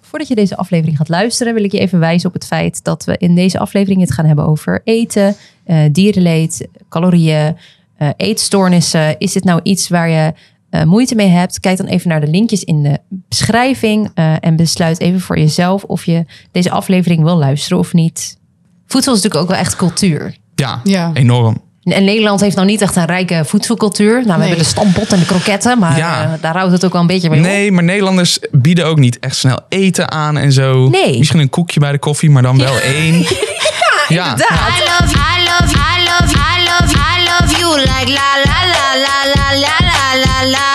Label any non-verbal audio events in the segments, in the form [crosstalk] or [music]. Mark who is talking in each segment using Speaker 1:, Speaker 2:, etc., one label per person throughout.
Speaker 1: Voordat je deze aflevering gaat luisteren, wil ik je even wijzen op het feit dat we in deze aflevering het gaan hebben over eten, eh, dierenleed, calorieën, eh, eetstoornissen. Is dit nou iets waar je eh, moeite mee hebt? Kijk dan even naar de linkjes in de beschrijving eh, en besluit even voor jezelf of je deze aflevering wil luisteren of niet. Voedsel is natuurlijk ook wel echt cultuur.
Speaker 2: Ja,
Speaker 3: Ja.
Speaker 2: enorm.
Speaker 1: En Nederland heeft nou niet echt een rijke voedselcultuur. Nou, we
Speaker 3: Nee.
Speaker 1: hebben de stampot en de kroketten, maar
Speaker 2: Ja.
Speaker 1: eh, daar houdt het ook wel een beetje mee op.
Speaker 2: Nee, maar Nederlanders bieden ook niet echt snel eten aan en zo.
Speaker 1: Nee.
Speaker 2: Misschien een koekje bij de koffie, maar dan wel
Speaker 1: [laughs]
Speaker 2: één. Ja,
Speaker 4: I love you, I love you, I love you, I love you, I love you like la la la la la la la la la.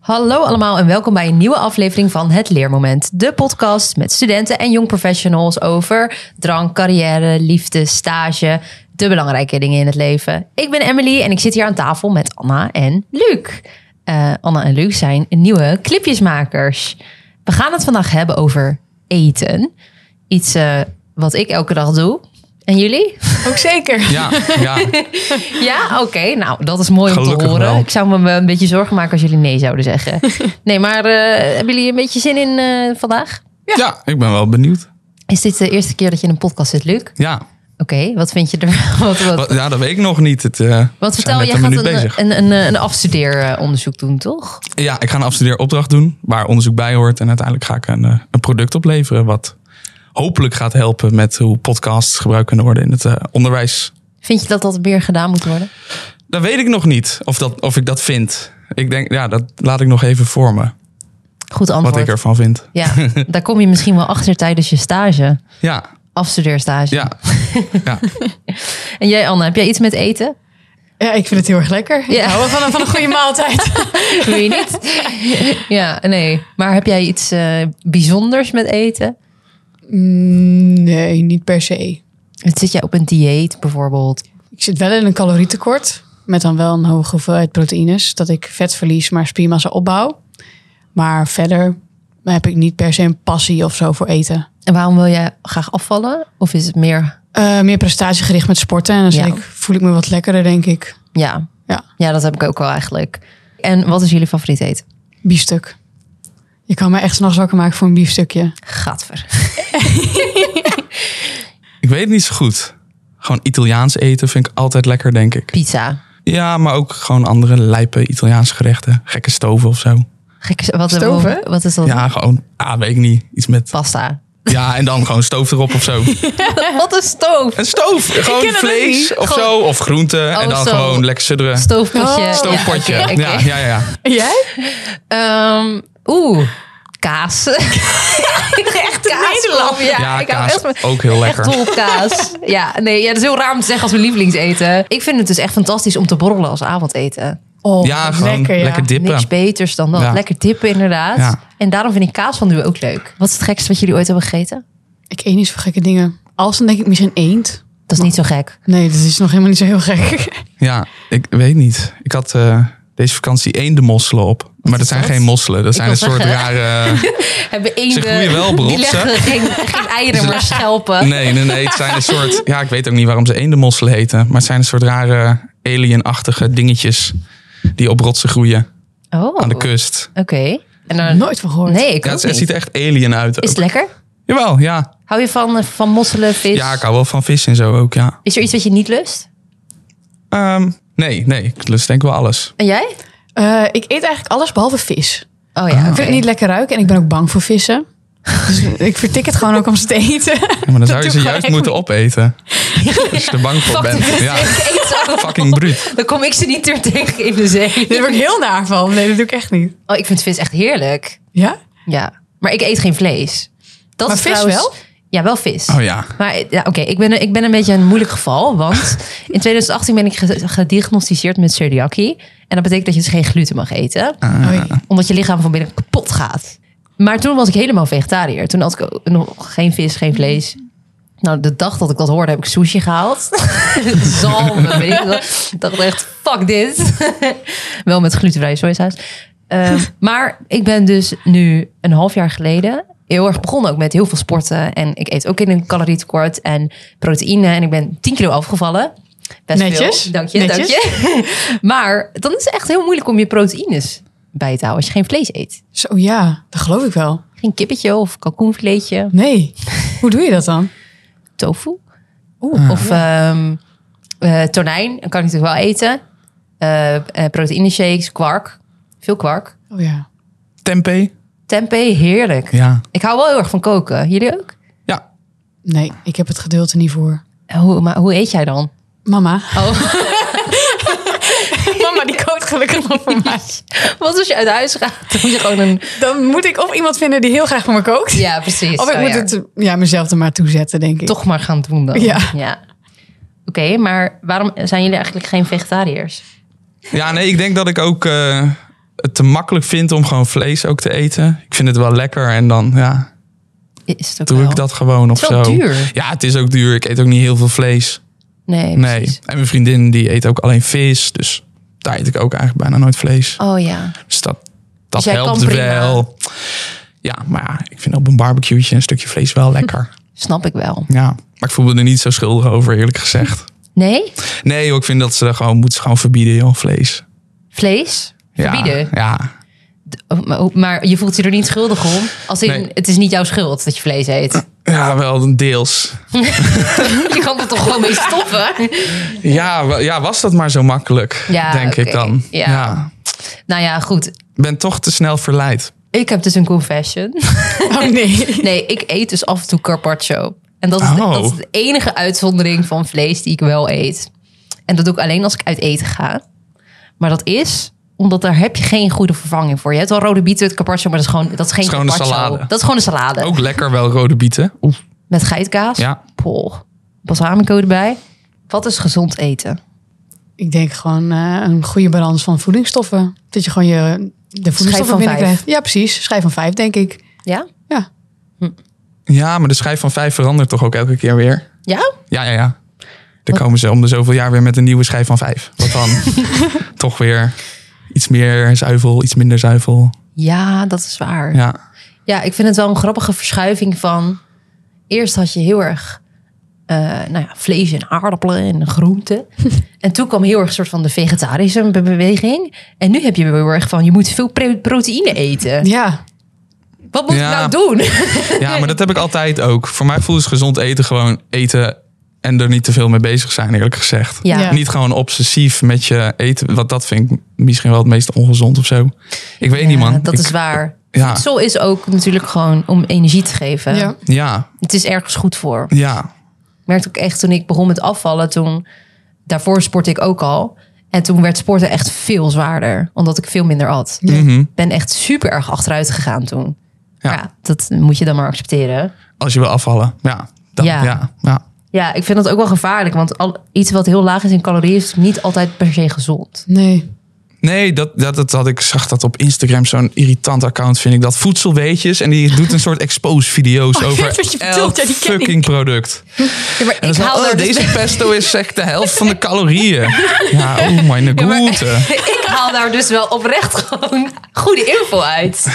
Speaker 1: Hallo allemaal en welkom bij een nieuwe aflevering van Het Leermoment. De podcast met studenten en jong professionals over drank, carrière, liefde, stage. De belangrijke dingen in het leven. Ik ben Emily en ik zit hier aan tafel met Anna en Luc. Eh, Anna en Luc zijn nieuwe clipjesmakers. We gaan het vandaag hebben over eten. Iets eh, wat ik elke dag doe. En jullie?
Speaker 3: Ook zeker.
Speaker 2: ja, ja.
Speaker 1: [laughs] Ja, oké. Nou, dat is mooi om te
Speaker 2: Gelukkig
Speaker 1: horen.
Speaker 2: wel.
Speaker 1: Ik zou me een beetje zorgen maken als jullie nee zouden
Speaker 2: [laughs]
Speaker 1: zeggen. Nee, maar eh, hebben jullie een beetje zin in eh, vandaag?
Speaker 2: Ja, ik ben wel benieuwd.
Speaker 1: Is dit de eerste keer dat je in een podcast zit, Luc? Oké,
Speaker 2: Ja,
Speaker 1: wat vind je er? [laughs] Wat, wat,
Speaker 2: wat- ja dat weet ik nog niet. Het, eh, we
Speaker 1: wat
Speaker 2: zijn
Speaker 1: vertel,
Speaker 2: met
Speaker 1: jij
Speaker 2: een
Speaker 1: gaat
Speaker 2: minuut
Speaker 1: een, eh,
Speaker 2: bezig.
Speaker 1: een, een, een afstudeeronderzoek doen, toch?
Speaker 2: Ja, ik ga een afstudeeropdracht doen waar onderzoek bij hoort. En uiteindelijk ga ik een, eh, een product opleveren wat hopelijk gaat helpen met hoe podcasts gebruikt kunnen worden in het eh, onderwijs.
Speaker 1: Vind je dat dat meer gedaan moet worden?
Speaker 2: Dat weet ik nog niet of, dat, of ik dat vind. Ik denk, ja, dat laat ik nog even vormen.
Speaker 1: Goed
Speaker 2: Wat
Speaker 1: antwoord.
Speaker 2: ik ervan vind.
Speaker 1: Ja,
Speaker 2: [laughs]
Speaker 1: daar kom je misschien wel achter tijdens je stage.
Speaker 2: Ja,
Speaker 1: Afstudeerstage.
Speaker 2: ja. ja.
Speaker 1: En jij, Anne, heb jij iets met eten?
Speaker 3: Ja, ik vind het heel erg lekker.
Speaker 1: Ja.
Speaker 3: Ik hou wel van een, van een
Speaker 1: [laughs]
Speaker 3: goede maaltijd.
Speaker 1: Doe je niet?
Speaker 2: [laughs]
Speaker 1: Ja, nee. Maar heb jij iets eh, bijzonders met eten?
Speaker 3: Mm, Nee, niet per se.
Speaker 1: Zit jij op een dieet bijvoorbeeld?
Speaker 3: Ik zit wel in een calorietekort. Met dan wel een hoge hoeveelheid proteïnes. Dat ik vet verlies, maar spiermassa opbouw. Maar verder heb ik niet per se een passie of zo voor eten.
Speaker 1: En waarom wil jij graag afvallen? Of is het meer,
Speaker 3: Eh, meer prestatiegericht met sporten. En dan zit
Speaker 1: Ja.
Speaker 3: ik, voel ik me wat lekkerder, denk ik.
Speaker 1: ja.
Speaker 3: Ja.
Speaker 1: ja, dat heb ik ook wel eigenlijk. En wat is jullie favoriet eten?
Speaker 3: Biefstuk. Je kan me echt s'nachts wakker maken voor een biefstukje.
Speaker 1: Gaatver.
Speaker 2: Ik weet het niet zo goed. Gewoon Italiaans eten vind ik altijd lekker, denk ik.
Speaker 1: Pizza.
Speaker 2: Ja, maar ook gewoon andere lijpe Italiaanse gerechten. Gekke stoven of zo.
Speaker 1: Gekke, wat,
Speaker 3: Stoven?
Speaker 1: wat- Wat is dat?
Speaker 2: Ja, gewoon, ah, weet ik niet. Iets met,
Speaker 3: [laughs]
Speaker 1: Pasta.
Speaker 2: ja, en dan gewoon stoof erop of
Speaker 1: [laughs]
Speaker 2: zo.
Speaker 1: wat een stoof.
Speaker 2: Een stoof, gewoon
Speaker 3: ken het ook
Speaker 2: vlees
Speaker 3: niet.
Speaker 2: of
Speaker 1: Gewoon-
Speaker 2: zo. Of groenten
Speaker 1: Oh,
Speaker 2: en dan
Speaker 1: zo.
Speaker 2: gewoon lekker sudderen.
Speaker 1: Stoofpotje.
Speaker 3: Oh.
Speaker 2: Stoofpotje.
Speaker 1: Ja,
Speaker 2: Ja,
Speaker 1: oké, oké.
Speaker 2: ja, ja, ja.
Speaker 3: Jij?
Speaker 1: Ehm, Oeh,
Speaker 3: [laughs]
Speaker 1: kaas. echt kaaslap. Ja,
Speaker 2: Ja,
Speaker 1: ik hou
Speaker 2: kaas
Speaker 1: echt van
Speaker 2: ook heel lekker.
Speaker 1: Echt dolkaas. ja, nee, ja, dat is heel raar om te zeggen als mijn lievelingseten. Ik vind het dus echt fantastisch om te borrelen als avondeten.
Speaker 3: Oh,
Speaker 2: Ja,
Speaker 3: wat
Speaker 2: gewoon lekker,
Speaker 3: ja.
Speaker 1: Niks
Speaker 2: dippen.
Speaker 1: beters dan dat.
Speaker 2: Ja.
Speaker 1: Lekker dippen inderdaad.
Speaker 2: Ja.
Speaker 1: En daarom vind ik kaas van ook leuk. Wat is het gekste wat jullie ooit hebben gegeten?
Speaker 3: Ik eet niet zo gekke dingen. Als dan denk ik misschien eend.
Speaker 1: Dat is niet zo gek.
Speaker 3: Nee, dat is nog helemaal niet zo heel gek.
Speaker 2: Ja, ik weet niet. Ik had eh, deze vakantie eendenmosselen op. maar dat
Speaker 1: is
Speaker 2: zijn
Speaker 1: dat?
Speaker 2: geen mosselen. Dat zijn een
Speaker 1: wil
Speaker 2: soort
Speaker 1: zeggen. [laughs]
Speaker 2: rare...
Speaker 1: [laughs] Hebben één
Speaker 2: Zeg, goeie wel, Bros,
Speaker 1: [laughs] Die leggen
Speaker 2: hè?
Speaker 1: geen, geen
Speaker 2: [laughs]
Speaker 1: eieren, maar [laughs] schelpen.
Speaker 2: Nee, nee, nee. Het zijn een soort. Ja, ik weet ook niet waarom ze eendenmosselen heten. Maar het zijn een soort rare alienachtige dingetjes. Die op rotsen groeien
Speaker 1: Oh,
Speaker 2: aan de
Speaker 1: oké.
Speaker 2: kust.
Speaker 1: En dan...
Speaker 3: Nooit van gehoord.
Speaker 1: Nee, ik
Speaker 2: Ja,
Speaker 1: ook
Speaker 2: het, het
Speaker 1: niet.
Speaker 2: ziet er echt alien uit.
Speaker 1: Is
Speaker 2: Ook.
Speaker 1: het lekker?
Speaker 2: Jawel, ja.
Speaker 1: Hou je van, eh, van mosselen, vis?
Speaker 2: Ja, ik hou wel van vis en zo ook, ja.
Speaker 1: Is er iets wat je niet lust?
Speaker 2: Ehm, nee, nee. Ik lust denk ik wel alles.
Speaker 1: En jij?
Speaker 3: Eh, ik eet eigenlijk alles behalve vis.
Speaker 1: Oh
Speaker 2: Ah.
Speaker 1: ja,
Speaker 3: Ik vind het niet lekker ruiken en ik ben ook bang voor vissen. Dus ik vertik het gewoon ook om ze te eten. [laughs]
Speaker 2: Ja, maar dan zou je
Speaker 3: doe
Speaker 2: ze
Speaker 3: ik
Speaker 2: juist
Speaker 3: gewoon
Speaker 2: moeten opeten. Als je er bang voor
Speaker 1: Fuck de
Speaker 2: bent.
Speaker 1: vis, [laughs]
Speaker 2: Ja,
Speaker 1: ik eet zo.
Speaker 2: fucking bruut.
Speaker 1: Dan kom ik ze niet meer tegen in de [laughs] zee.
Speaker 3: Daar word ik heel naar van. Nee, dat doe ik echt niet.
Speaker 1: Oh, ik vind vis echt heerlijk.
Speaker 3: Ja?
Speaker 1: Ja, maar ik eet geen vlees. Dat
Speaker 3: Maar
Speaker 1: is
Speaker 3: vis
Speaker 1: trouwens-
Speaker 3: wel?
Speaker 1: Ja, wel vis.
Speaker 2: Oh ja.
Speaker 1: Maar ja, oké, ik, ben, ik ben een beetje een moeilijk geval. Want in 2018 ben ik ge- gediagnosticeerd met celiakie. En dat betekent dat je dus geen gluten mag eten.
Speaker 3: Oei.
Speaker 1: Omdat je lichaam van binnen kapot gaat. Maar toen was ik helemaal vegetariër. Toen had ik ook nog geen vis, geen vlees. Nou, de dag dat ik dat hoorde, heb ik sushi gehaald. [laughs] Zalmen, weet ik wel. Ik dacht echt, fuck dit. [laughs] wel met glutenvrije sojasaus.
Speaker 3: [laughs]
Speaker 1: Ehm, maar ik ben dus nu een half jaar geleden heel erg begonnen ook met heel veel sporten. En ik eet ook in een calorietekort en proteïne. En ik ben 10 kilo afgevallen. Best
Speaker 3: Netjes.
Speaker 1: Veel. Dank je, dank
Speaker 3: Netjes.
Speaker 1: je. [laughs] maar dan is het echt heel moeilijk om je proteïnes bij te houden als je geen vlees eet.
Speaker 3: Zo ja, dat geloof ik wel.
Speaker 1: Geen kippetje of kalkoenfiletje.
Speaker 3: Nee. Hoe doe je dat dan?
Speaker 1: Tofu.
Speaker 2: Oh,
Speaker 3: Oeh.
Speaker 1: Of ehm, eh, tonijn. Dan kan ik natuurlijk wel eten. Eh eh, proteïne shakes, kwark. Veel kwark.
Speaker 3: Oh ja.
Speaker 2: Tempeh.
Speaker 1: Tempeh, heerlijk.
Speaker 2: Ja.
Speaker 1: Ik hou wel heel erg van koken. Jullie ook?
Speaker 2: Ja.
Speaker 3: Nee, ik heb het geduld er niet voor.
Speaker 1: Hoe, maar hoe eet jij dan? [laughs]
Speaker 3: Mama.
Speaker 1: Oh,
Speaker 3: [laughs] Mama, die kookt gelukkig nog voor mij.
Speaker 1: wat als je uit huis gaat? Dan moet je gewoon een...
Speaker 3: Dan moet ik of iemand vinden die heel graag voor me kookt.
Speaker 1: Ja, precies.
Speaker 3: Of ik
Speaker 1: Oh,
Speaker 3: moet
Speaker 1: ja.
Speaker 3: het ja, mezelf er maar toe zetten, denk ik.
Speaker 1: toch maar gaan doen dan.
Speaker 3: Ja.
Speaker 1: Oké, maar waarom zijn jullie eigenlijk geen vegetariërs?
Speaker 2: Ja, nee, ik denk dat ik ook eh, het te makkelijk vind om gewoon vlees ook te eten. Ik vind het wel lekker en dan ja,
Speaker 1: Is het ook
Speaker 2: doe
Speaker 1: wel?
Speaker 2: ik dat gewoon of
Speaker 1: Het is wel
Speaker 2: zo.
Speaker 1: duur.
Speaker 2: Ja, het is ook duur. Ik eet ook niet heel veel vlees.
Speaker 1: Nee,
Speaker 2: Nee.
Speaker 1: precies.
Speaker 2: En mijn vriendin die eet ook alleen vis, dus daar eet ik ook eigenlijk bijna nooit vlees.
Speaker 1: Oh ja.
Speaker 2: Dus dat, dat
Speaker 1: jij kan
Speaker 2: helpt
Speaker 1: prima.
Speaker 2: wel. Ja, maar ja, ik vind op een barbecueetje een stukje vlees
Speaker 1: [laughs]
Speaker 2: wel lekker.
Speaker 1: Snap ik wel.
Speaker 2: Ja, maar ik voel me er niet zo schuldig over, eerlijk gezegd.
Speaker 1: Nee?
Speaker 2: Nee, joh, ik vind dat ze er gewoon moeten ze gewoon verbieden, joh, vlees.
Speaker 1: Vlees?
Speaker 2: Ja,
Speaker 1: Verbieden?
Speaker 2: Ja.
Speaker 1: Oh, Maar, maar je voelt je er niet schuldig om. Als in,
Speaker 2: Nee.
Speaker 1: het is niet jouw schuld dat je vlees eet. [laughs]
Speaker 2: ja, wel deels.
Speaker 1: je kan er toch gewoon mee stoppen?
Speaker 2: Ja, wa- ja, was dat maar zo makkelijk,
Speaker 1: Ja,
Speaker 2: denk ik
Speaker 1: oké.
Speaker 2: dan.
Speaker 1: Ja.
Speaker 2: Ja.
Speaker 1: nou ja, goed.
Speaker 2: Ik ben toch te snel verleid.
Speaker 1: Ik heb dus een confession. [laughs]
Speaker 3: Oh [laughs] nee.
Speaker 1: Nee, ik eet dus af en toe carpaccio. En dat is,
Speaker 2: Oh.
Speaker 1: dat is de enige uitzondering van vlees die ik wel eet. En dat doe ik alleen als ik uit eten ga. Maar dat is omdat daar heb je geen goede vervanging voor. Je hebt wel rode bieten met carpaccio, maar dat is gewoon, dat is geen
Speaker 2: is gewoon een
Speaker 1: carpaccio.
Speaker 2: salade.
Speaker 1: Dat is gewoon een salade.
Speaker 2: Ook lekker wel rode bieten. Oeh,
Speaker 1: Met geitkaas.
Speaker 2: Ja.
Speaker 1: Pol. Balsamico erbij. Wat is gezond eten?
Speaker 3: Ik denk gewoon eh, een goede balans van voedingsstoffen. Dat je gewoon je, de voedingsstoffen
Speaker 1: van vijf.
Speaker 3: binnenkrijgt. Ja, precies. Schijf van vijf, denk ik.
Speaker 1: Ja?
Speaker 3: Ja.
Speaker 2: Ja, maar de schijf van vijf verandert toch ook elke keer weer?
Speaker 1: Ja?
Speaker 2: Ja, ja, ja. Dan komen ze om de zoveel jaar weer met een nieuwe schijf van vijf. Wat
Speaker 1: [laughs]
Speaker 2: dan toch weer iets meer zuivel, iets minder zuivel.
Speaker 1: Ja, dat is waar.
Speaker 2: Ja,
Speaker 1: Ja, ik vind het wel een grappige verschuiving van... Eerst had je heel erg eh, nou ja, vlees en aardappelen en [laughs] groenten. en toen kwam heel erg een soort van de vegetarische be- beweging. En nu heb je weer heel erg van, je moet veel pre- proteïne eten.
Speaker 3: Ja.
Speaker 1: Wat moet
Speaker 2: Ja.
Speaker 1: ik nou
Speaker 2: [laughs]
Speaker 1: doen?
Speaker 2: ja maar dat heb ik altijd ook. Voor mij voelt het gezond eten gewoon eten en er niet te veel mee bezig zijn, eerlijk gezegd.
Speaker 1: ja.
Speaker 3: Ja.
Speaker 2: Niet gewoon obsessief met je eten. Want dat vind ik misschien wel het meest ongezond of zo. Ik weet niet,
Speaker 1: Ja,
Speaker 2: man.
Speaker 1: dat
Speaker 2: Ik-
Speaker 1: is waar.
Speaker 2: ja.
Speaker 1: Voedsel is ook natuurlijk gewoon om energie te geven.
Speaker 3: ja.
Speaker 2: Ja,
Speaker 1: Het is ergens goed voor.
Speaker 2: ja.
Speaker 1: Ik merkte ook echt toen ik begon met afvallen, toen daarvoor sportte ik ook al. En toen werd sporten echt veel zwaarder, omdat ik veel minder at. Ik ben echt super erg achteruit gegaan toen. Ja.
Speaker 2: Ja.
Speaker 1: dat moet je dan maar accepteren.
Speaker 2: Als je wil afvallen. Ja, dan,
Speaker 1: Ja.
Speaker 2: ja. ja, ja.
Speaker 1: Ja, ik vind dat ook wel gevaarlijk, want al, iets wat heel laag is in calorieën is niet altijd per se gezond.
Speaker 3: Nee.
Speaker 2: Nee, dat, dat, dat, dat- ik zag dat op Instagram zo'n irritant account vind ik dat voedselweetjes en die doet een soort expose video's over
Speaker 3: Oh, wat je
Speaker 2: elk
Speaker 3: bedoelt. Ja, die ken ik.
Speaker 2: fucking product.
Speaker 1: Ja, maar
Speaker 2: En dan
Speaker 1: ik
Speaker 2: zo,
Speaker 1: haal
Speaker 2: oh,
Speaker 1: daar dus-
Speaker 2: deze pesto is echt de helft
Speaker 3: [laughs]
Speaker 2: van de calorieën. Ja, oh my
Speaker 1: Ja, maar-
Speaker 2: goede.
Speaker 1: [laughs] ik haal daar dus wel oprecht gewoon goede info uit.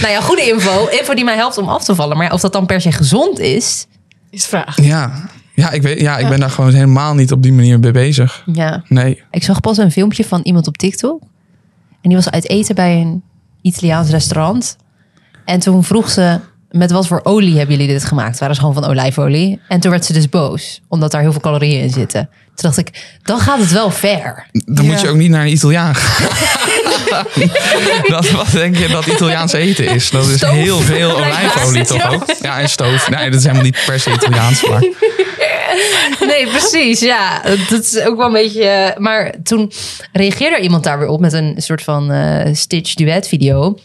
Speaker 1: Nou ja, goede info. Info die mij helpt om af te vallen. Maar ja, of dat dan per se gezond is.
Speaker 3: Is de vraag.
Speaker 2: Ja, ja, ik weet, ja, ik ben daar gewoon helemaal niet op die manier mee bezig.
Speaker 1: Ja.
Speaker 2: Nee.
Speaker 1: Ik zag pas een filmpje van iemand op TikTok. En die was uit eten bij een Italiaans restaurant. En toen vroeg ze, met wat voor olie hebben jullie dit gemaakt? Waren ze gewoon van olijfolie? En toen werd ze dus boos, omdat daar heel veel calorieën in zitten. Toen dacht ik, dan gaat het wel ver.
Speaker 2: Dan
Speaker 3: Ja.
Speaker 2: moet je ook niet naar een Italiaan gaan.
Speaker 3: [laughs]
Speaker 2: dat, wat denk je dat Italiaans eten is? Dat is
Speaker 1: Stoof.
Speaker 2: heel veel
Speaker 1: Blijkbaar.
Speaker 2: olijfolie toch ook? Ja, en stoof. Nee, dat is helemaal niet per se Italiaans. Maar
Speaker 1: Nee, precies, ja. Dat is ook wel een beetje... eh, Maar toen reageerde er iemand daar weer op met een soort van eh, Stitch duet video.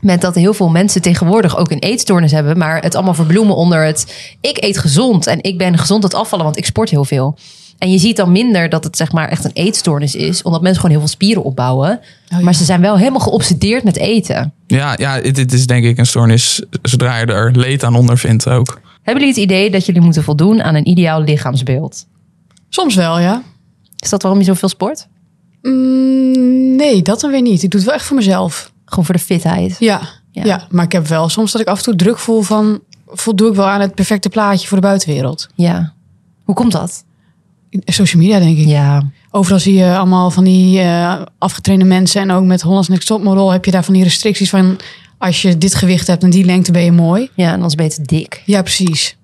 Speaker 1: Met dat heel veel mensen tegenwoordig ook een eetstoornis hebben. Maar het allemaal verbloemen onder het... Ik eet gezond en ik ben gezond aan het afvallen, want ik sport heel veel. En je ziet dan minder dat het zeg maar echt een eetstoornis is. Omdat mensen gewoon heel veel spieren opbouwen.
Speaker 3: ja.
Speaker 1: Maar ze zijn wel helemaal geobsedeerd met eten.
Speaker 2: ja, ja dit, dit is denk ik een stoornis zodra je er leed aan ondervindt ook.
Speaker 1: Hebben jullie het idee dat jullie moeten voldoen aan een ideaal lichaamsbeeld?
Speaker 3: Soms wel, ja.
Speaker 1: Is dat waarom je zoveel sport?
Speaker 3: Mm, nee, dat dan weer niet. Ik doe het wel echt voor mezelf.
Speaker 1: Gewoon voor de fitheid.
Speaker 3: Ja.
Speaker 1: Ja.
Speaker 3: ja. Maar ik heb wel soms dat ik af en toe druk voel van... Voldoe ik wel aan het perfecte plaatje voor de buitenwereld?
Speaker 1: Ja. Hoe komt dat?
Speaker 3: In Social media, denk ik.
Speaker 1: Ja.
Speaker 3: Overal zie je allemaal van die eh, afgetrainde mensen. En ook met Hollands Next Topmodel heb je daar van die restricties van... als je dit gewicht hebt en die lengte ben je mooi.
Speaker 1: Ja, en anders ben je te dik.
Speaker 3: Ja, precies.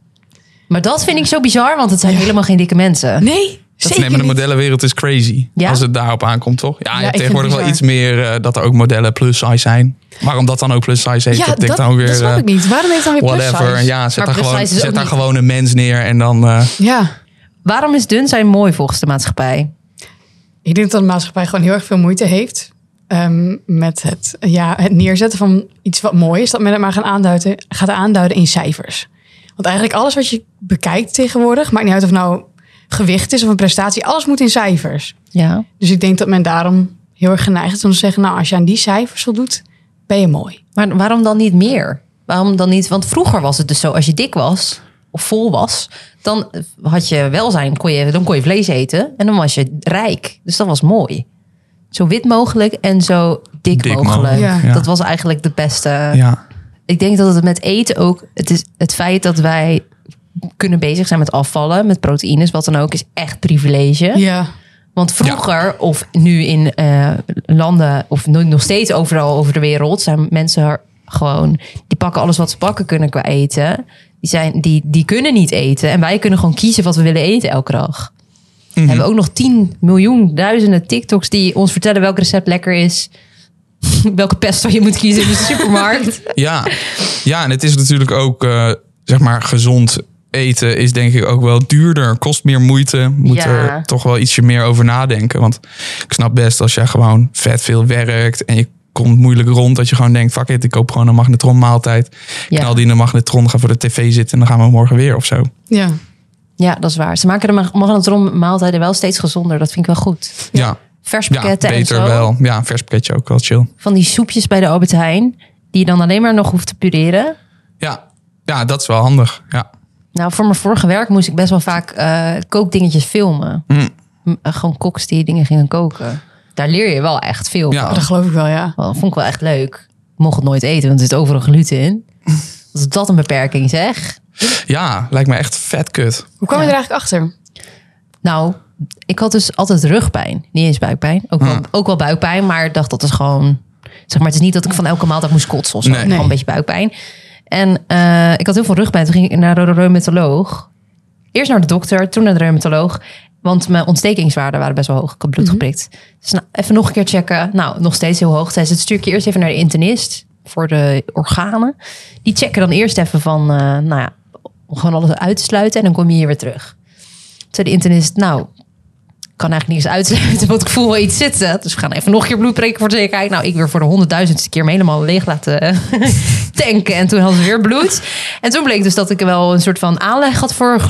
Speaker 1: Maar dat vind ik zo bizar, want het zijn helemaal geen dikke mensen.
Speaker 3: Nee, zeker
Speaker 2: nee, maar de
Speaker 3: niet.
Speaker 2: modellenwereld is crazy.
Speaker 1: Ja?
Speaker 2: Als het daarop aankomt, toch? Ja, je
Speaker 3: Ja,
Speaker 2: hebt
Speaker 3: ik vind het
Speaker 2: tegenwoordig wel
Speaker 3: bizar.
Speaker 2: iets meer eh, dat er ook modellen plus size zijn. Waarom dat dan ook plus size heet, dat
Speaker 3: Ja, dat,
Speaker 2: denk ik dan weer...
Speaker 3: dat snap
Speaker 2: eh,
Speaker 3: ik niet. Waarom heeft dan weer plus
Speaker 2: Whatever.
Speaker 3: size?
Speaker 2: Ja, zet
Speaker 1: Maar
Speaker 2: daar,
Speaker 1: plus
Speaker 2: gewoon,
Speaker 1: size is
Speaker 2: zet
Speaker 1: ook
Speaker 2: daar
Speaker 1: niet-
Speaker 2: gewoon een mens neer en dan... eh,
Speaker 3: Ja.
Speaker 1: Waarom is dun zijn mooi volgens de maatschappij?
Speaker 3: Ik denk dat de maatschappij gewoon heel erg veel moeite heeft ehm, met het, ja, het neerzetten van iets wat mooi is. Dat men het maar gaan aanduiden, gaat aanduiden in cijfers. Want eigenlijk alles wat je bekijkt tegenwoordig, maakt niet uit of het nou gewicht is of een prestatie, alles moet in cijfers.
Speaker 1: Ja.
Speaker 3: Dus ik denk dat men daarom heel erg geneigd is om te zeggen, nou als je aan die cijfers voldoet, ben je mooi.
Speaker 1: Maar waarom dan niet meer? Waarom dan niet? Want vroeger was het dus zo, als je dik was of vol was, dan had je welzijn, kon je, dan kon je vlees eten en dan was je rijk. Dus dat was mooi. Zo wit mogelijk en zo dik,
Speaker 2: Dik
Speaker 1: mogelijk.
Speaker 3: mogelijk,
Speaker 2: ja.
Speaker 1: Dat was eigenlijk de beste.
Speaker 2: ja.
Speaker 1: Ik denk dat het met eten ook, het is het feit dat wij kunnen bezig zijn met afvallen, met proteïnes, wat dan ook, is echt privilege.
Speaker 3: Ja,
Speaker 1: Want vroeger, of nu in eh, landen, of nu nog steeds overal over de wereld, zijn mensen er gewoon, die pakken alles wat ze pakken kunnen qua eten. Die, zijn, die, die kunnen niet eten. En wij kunnen gewoon kiezen wat we willen eten elke dag. We hebben ook nog 10 miljoen, duizenden TikToks die ons vertellen welk recept lekker is. [laughs] Welke pesto je moet kiezen in de supermarkt.
Speaker 2: Ja. ja, en het is natuurlijk ook, eh, zeg maar, gezond eten is denk ik ook wel duurder. Kost meer moeite. Moet
Speaker 1: Ja.
Speaker 2: er toch wel ietsje meer over nadenken. Want ik snap best als jij gewoon vet veel werkt en je komt moeilijk rond. Dat je gewoon denkt, fuck it, ik koop gewoon een magnetron maaltijd.
Speaker 1: Ja.
Speaker 2: Knal die in de magnetron, ga voor de tv zitten en dan gaan we morgen weer of zo.
Speaker 3: ja.
Speaker 1: Ja, dat is waar. Ze maken de mag- magnetron maaltijden wel steeds gezonder. Dat vind ik wel goed.
Speaker 2: Ja,
Speaker 1: Vers
Speaker 2: ja,
Speaker 1: pakketten en
Speaker 2: beter
Speaker 1: zo.
Speaker 2: wel. Ja, een vers pakketje ook wel chill.
Speaker 1: Van die soepjes bij de Albert Heijn. Die je dan alleen maar nog hoeft te pureren.
Speaker 2: Ja, ja dat is wel handig. Ja.
Speaker 1: Nou, voor mijn vorige werk moest ik best wel vaak eh, kookdingetjes filmen.
Speaker 2: Mm.
Speaker 1: M- eh, gewoon koks die dingen gingen koken. Daar leer je wel echt veel
Speaker 2: Ja.
Speaker 1: van.
Speaker 3: dat geloof ik wel, ja.
Speaker 1: Wel, Dat vond ik wel echt leuk. Ik mocht het nooit eten, want er zit overal gluten
Speaker 2: [laughs]
Speaker 1: in. Wat is dat een beperking, zeg?
Speaker 2: ja, lijkt me echt vet kut.
Speaker 3: Hoe kwam je
Speaker 1: Ja.
Speaker 3: er eigenlijk achter?
Speaker 1: Nou, ik had dus altijd rugpijn. Niet eens buikpijn. Ook wel,
Speaker 2: Ah.
Speaker 1: ook wel buikpijn, maar ik dacht dat is gewoon... Zeg maar, het is niet dat ik van elke maaltijd moest kotsen of zo.
Speaker 2: Nee.
Speaker 1: Gewoon een
Speaker 3: Nee.
Speaker 1: beetje buikpijn. En eh, ik had heel veel rugpijn. Toen ging ik naar de reumatoloog. Eerst naar de dokter, toen naar de reumatoloog. Want mijn ontstekingswaarden waren best wel hoog. Ik had bloed geprikt. Dus nou, even nog een keer checken. Nou, nog steeds heel hoog. Zij zei, stuur ik je eerst even naar de internist voor de organen. Die checken dan eerst even van, eh, nou ja, om gewoon alles uit te sluiten. En dan kom je hier weer terug. Toen zei de internist, nou, ik kan eigenlijk niks uitsluiten, want ik voel wel iets zitten. Dus we gaan even nog een keer bloed prikken voor de zekerheid. Nou, ik weer voor de honderdduizendste keer me helemaal leeg laten eh, [laughs] tanken. En toen hadden ze weer bloed. En toen bleek dus dat ik wel een soort van aanleg had voor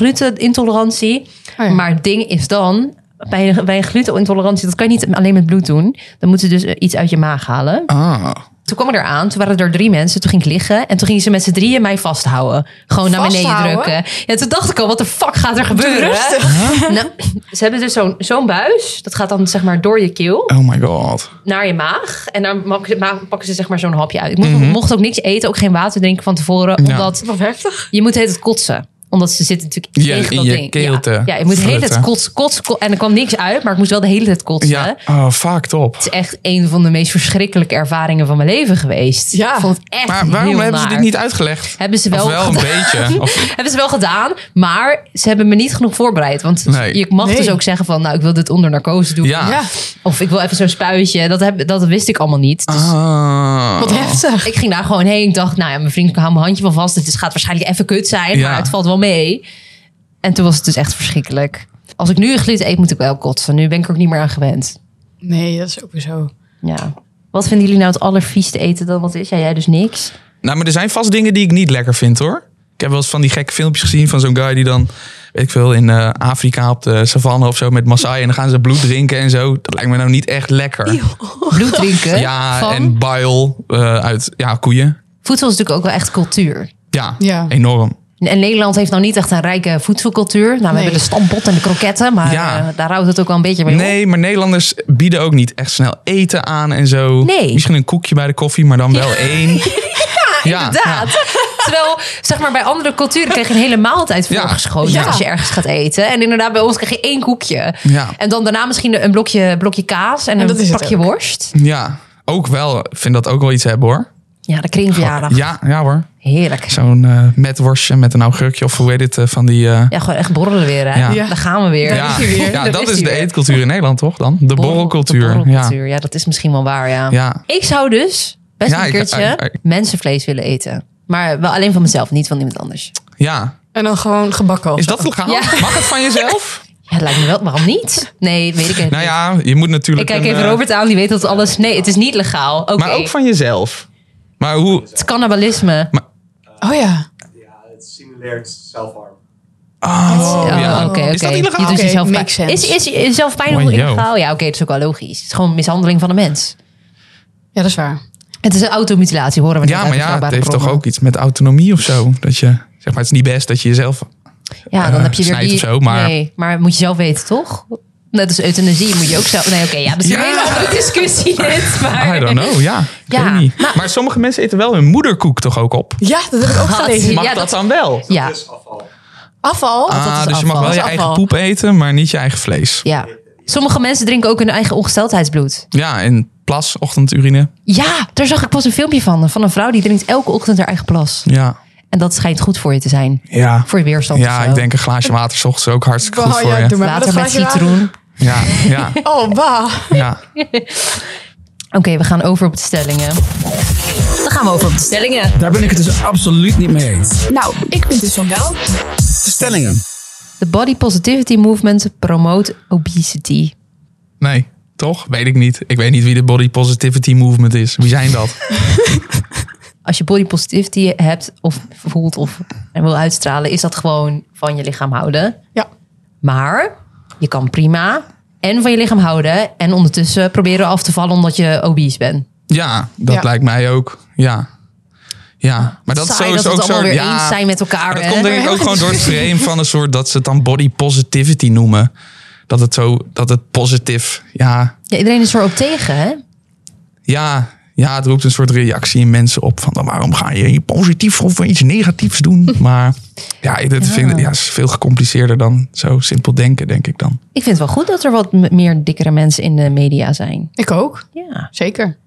Speaker 1: glutenintolerantie.
Speaker 3: Oh ja.
Speaker 1: Maar het ding is dan, bij een, bij een glutenintolerantie, dat kan je niet alleen met bloed doen. Dan moeten ze dus eh, iets uit je maag halen.
Speaker 2: Ah.
Speaker 1: Toen kwam ik eraan, toen waren er drie mensen. Toen ging ik liggen en toen gingen ze met z'n drieën mij vasthouden. Gewoon naar beneden
Speaker 3: Vasthouden?
Speaker 1: drukken. Ja, toen dacht ik al, wat de fuck gaat er gebeuren?
Speaker 2: [laughs]
Speaker 1: Nou, ze hebben dus zo'n zo'n buis. Dat gaat dan zeg maar door je keel
Speaker 2: Oh my god.
Speaker 1: naar je maag. En dan mak- ma- pakken ze zeg maar zo'n hapje uit. Ik mocht, mocht ook niks eten, ook geen water drinken van tevoren.
Speaker 2: Mhm. Ja.
Speaker 1: Omdat
Speaker 3: Wat heftig.
Speaker 1: je moet de hele tijd kotsen. Omdat ze zitten natuurlijk
Speaker 2: Ja,
Speaker 1: tegen
Speaker 2: in
Speaker 1: dat
Speaker 2: je
Speaker 1: ding.
Speaker 2: keel te
Speaker 1: ja. ja, je moet de hele tijd
Speaker 2: flutten.
Speaker 1: kotsen, kotsen, kotsen. En er kwam niks uit, maar ik moest wel de hele tijd kotsen.
Speaker 2: Ja, oh, fuck top.
Speaker 1: Het is echt een van de meest verschrikkelijke ervaringen van mijn leven geweest.
Speaker 3: Ja.
Speaker 1: Ik vond het echt
Speaker 2: Maar waarom
Speaker 1: heel
Speaker 2: hebben ze
Speaker 1: naar.
Speaker 2: dit niet uitgelegd?
Speaker 1: Hebben ze wel
Speaker 2: of wel een
Speaker 1: [laughs]
Speaker 2: beetje. Of,
Speaker 1: Hebben ze wel gedaan, maar ze hebben me niet genoeg voorbereid. Want
Speaker 2: Nee.
Speaker 1: je mag
Speaker 3: Nee.
Speaker 1: dus ook zeggen van, nou, ik wil dit onder narcose doen.
Speaker 2: ja.
Speaker 3: Ja,
Speaker 1: Of ik wil even zo'n spuitje. Dat, heb, dat wist ik allemaal niet. Dus
Speaker 2: Ah.
Speaker 3: wat heftig.
Speaker 1: Ik ging daar gewoon heen. Ik dacht, nou ja, mijn vriend, ik hou mijn handje wel vast. Het is- gaat waarschijnlijk even kut zijn,
Speaker 2: Ja.
Speaker 1: maar het valt wel mee. En toen was het dus echt verschrikkelijk. Als ik nu een glit eet, moet ik wel kotsen. Nu ben ik er ook niet meer aan gewend.
Speaker 3: Nee, dat is ook weer zo.
Speaker 1: Ja. Wat vinden jullie nou het allervieste eten dan wat is? Ja, jij dus niks.
Speaker 2: Nou, maar er zijn vast dingen die ik niet lekker vind hoor. Ik heb wel eens van die gekke filmpjes gezien van zo'n guy die dan, weet ik veel, in eh, Afrika op de savanne of zo met Maasai. En dan gaan ze bloed drinken en zo. Dat lijkt me nou niet echt lekker.
Speaker 1: Bloed drinken
Speaker 2: Ja,
Speaker 1: van...
Speaker 2: en bile eh, uit ja, koeien.
Speaker 1: Voedsel is natuurlijk ook wel echt cultuur.
Speaker 2: Ja,
Speaker 3: Ja.
Speaker 2: enorm.
Speaker 1: En Nederland heeft nou niet echt een rijke voedselcultuur. Nou, we
Speaker 3: Nee.
Speaker 1: hebben de stampot en de kroketten, maar
Speaker 2: Ja.
Speaker 1: eh, daar houdt het ook wel een beetje mee op.
Speaker 2: Nee, maar Nederlanders bieden ook niet echt snel eten aan en zo.
Speaker 1: Nee.
Speaker 2: Misschien een koekje bij de koffie, maar dan wel één.
Speaker 1: [laughs]
Speaker 2: Ja,
Speaker 1: Inderdaad. [laughs] Terwijl, zeg maar, bij andere culturen krijg je een hele maaltijd
Speaker 2: Ja.
Speaker 1: voorgeschoten
Speaker 3: Ja.
Speaker 1: als je ergens gaat eten. En inderdaad, bij ons krijg je één koekje.
Speaker 2: Ja.
Speaker 1: En dan daarna misschien een blokje, blokje kaas en,
Speaker 3: dat
Speaker 1: een
Speaker 3: is het
Speaker 1: pakje
Speaker 3: ook.
Speaker 1: worst.
Speaker 2: Ja, ook wel. Ik vind dat ook wel iets hebben hoor.
Speaker 1: Ja, de kringverjaardag.
Speaker 2: Ja, ja hoor.
Speaker 1: Heerlijk.
Speaker 2: Zo'n eh metworstje met een augurkje of hoe heet het, eh, van die... eh,
Speaker 1: Ja, gewoon echt borrelen weer. Hè?
Speaker 2: Ja.
Speaker 3: Ja.
Speaker 1: Daar gaan we weer.
Speaker 2: ja,
Speaker 3: is hij
Speaker 2: [laughs]
Speaker 3: weer.
Speaker 2: ja,
Speaker 1: Daar
Speaker 2: dat
Speaker 1: is
Speaker 2: is
Speaker 1: hij
Speaker 2: de
Speaker 1: weer.
Speaker 2: eetcultuur in Nederland, toch dan? De
Speaker 1: Borrel-
Speaker 2: borrelcultuur.
Speaker 1: de
Speaker 2: Ja.
Speaker 1: borrelcultuur. Ja. dat is misschien wel waar, ja.
Speaker 2: ja.
Speaker 1: Ik zou dus best
Speaker 2: Ja,
Speaker 1: een
Speaker 2: ik-
Speaker 1: keertje
Speaker 2: ik- ik-
Speaker 1: mensenvlees willen eten. Maar wel alleen van mezelf, niet van iemand anders.
Speaker 2: Ja.
Speaker 3: En dan gewoon gebakken of
Speaker 2: Is
Speaker 3: zo.
Speaker 2: dat legaal?
Speaker 1: Ja.
Speaker 2: Mag het van jezelf?
Speaker 1: Ja, dat lijkt me wel. Waarom niet? Nee, weet [laughs] ik even
Speaker 2: Nou
Speaker 1: niet.
Speaker 2: ja, je moet
Speaker 1: Ik
Speaker 2: natuurlijk...
Speaker 1: kijk
Speaker 2: een,
Speaker 1: even
Speaker 2: eh,
Speaker 1: Robert aan, die weet dat alles... Nee, het is niet legaal. Oké,
Speaker 2: Maar ook van jezelf. Maar hoe...
Speaker 1: het is cannibalisme.
Speaker 3: Oh ja.
Speaker 5: Ja, het is simulair self-harm.
Speaker 2: Oh,
Speaker 1: Oh,
Speaker 2: ja.
Speaker 1: oké, oké.
Speaker 2: Is dat illegaal?
Speaker 1: Je doet
Speaker 3: Oké,
Speaker 1: jezelf pijn.
Speaker 3: makes sense.
Speaker 1: Is, is, is zelfpijn
Speaker 2: Wow.
Speaker 1: illegaal? Ja, oké, dat is ook wel logisch. Het is gewoon mishandeling van een mens.
Speaker 3: Ja, dat is waar.
Speaker 1: Het is een automutilatie, horen we net
Speaker 2: Ja,
Speaker 1: uit
Speaker 2: maar ja, het
Speaker 1: betrouwbare
Speaker 2: heeft toch
Speaker 1: bronnen.
Speaker 2: ook iets met autonomie of zo. Dat je, zeg maar, het is niet best dat je jezelf...
Speaker 1: Ja, dan
Speaker 2: eh,
Speaker 1: heb je weer
Speaker 2: snijdt
Speaker 1: die...
Speaker 2: of zo, maar-
Speaker 1: Nee, maar moet je zelf weten, toch? Net als euthanasie moet je ook zelf... Nee, oké, ja, dat is
Speaker 2: Ja.
Speaker 1: een hele andere
Speaker 2: [laughs]
Speaker 1: discussie dit, maar...
Speaker 2: I don't know, ja. Ik
Speaker 1: Ja,
Speaker 2: weet niet. Maar, sommige mensen eten wel hun moederkoek toch ook op?
Speaker 3: Ja, dat heb ik ook gelezen.
Speaker 2: Mag
Speaker 1: Ja,
Speaker 2: dat,
Speaker 1: dat-
Speaker 2: dan wel?
Speaker 1: Ja,
Speaker 5: Dus afval.
Speaker 3: Afval.
Speaker 2: Ah,
Speaker 1: dat is
Speaker 2: dus je
Speaker 1: afval.
Speaker 2: mag wel
Speaker 1: Dat
Speaker 2: je
Speaker 1: is
Speaker 2: eigen
Speaker 1: afval.
Speaker 2: poep eten, maar niet je eigen vlees.
Speaker 1: ja. Sommige mensen drinken ook hun eigen ongesteldheidsbloed.
Speaker 2: Ja, en plas, ochtendurine.
Speaker 1: Ja, daar zag ik pas een filmpje van. Van een vrouw die drinkt elke ochtend haar eigen plas.
Speaker 2: Ja,
Speaker 1: En dat schijnt goed voor je te zijn.
Speaker 2: ja.
Speaker 1: Voor je weerstand of
Speaker 2: Ja,
Speaker 1: zo.
Speaker 2: ik denk een glaasje water 's ochtends ook hartstikke goed
Speaker 3: Bah,
Speaker 2: voor
Speaker 3: ja, doe
Speaker 2: je.
Speaker 3: maar.
Speaker 1: Water
Speaker 3: Dat
Speaker 1: met
Speaker 3: glaasje water.
Speaker 1: citroen.
Speaker 2: Ja, ja,
Speaker 3: Oh, bah.
Speaker 1: [laughs]
Speaker 2: ja.
Speaker 1: Oké, we gaan over op de stellingen. Dan gaan we over op de stellingen.
Speaker 6: Daar ben ik het dus absoluut niet mee eens.
Speaker 7: Nou, ik vind dus van wel.
Speaker 6: De stellingen.
Speaker 1: De body positivity movement promote obesity.
Speaker 2: Nee, toch? Weet ik niet. Ik weet niet wie de body positivity movement is. Wie zijn dat?
Speaker 1: [laughs] Als je body positivity hebt of voelt of wil uitstralen, is dat gewoon van je lichaam houden.
Speaker 3: Ja.
Speaker 1: Maar je kan prima en van je lichaam houden en ondertussen proberen af te vallen omdat je obese bent.
Speaker 2: Ja, dat
Speaker 3: Ja.
Speaker 2: lijkt mij ook. Ja. Ja, maar dat
Speaker 1: Saai
Speaker 2: is
Speaker 1: dat we
Speaker 2: sowieso
Speaker 1: het
Speaker 2: ook zo.
Speaker 1: allemaal weer
Speaker 2: ja,
Speaker 1: eens zijn met elkaar.
Speaker 2: maar dat
Speaker 1: hè?
Speaker 2: komt
Speaker 1: [laughs]
Speaker 2: denk ik ook gewoon door het frame van een soort dat ze het dan body positivity noemen. Dat het zo, dat het positief, ja,
Speaker 1: Ja, iedereen is erop tegen, hè?
Speaker 2: ja, ja, het roept een soort reactie in mensen op van dan waarom ga je positief of iets negatiefs doen? Maar ja, dit Vind, ik- ja, is veel gecompliceerder dan zo simpel denken, denk ik dan.
Speaker 1: Ik vind het wel goed dat er wat m- meer dikkere mensen in de media zijn.
Speaker 3: Ik ook.
Speaker 1: Ja.
Speaker 3: Zeker.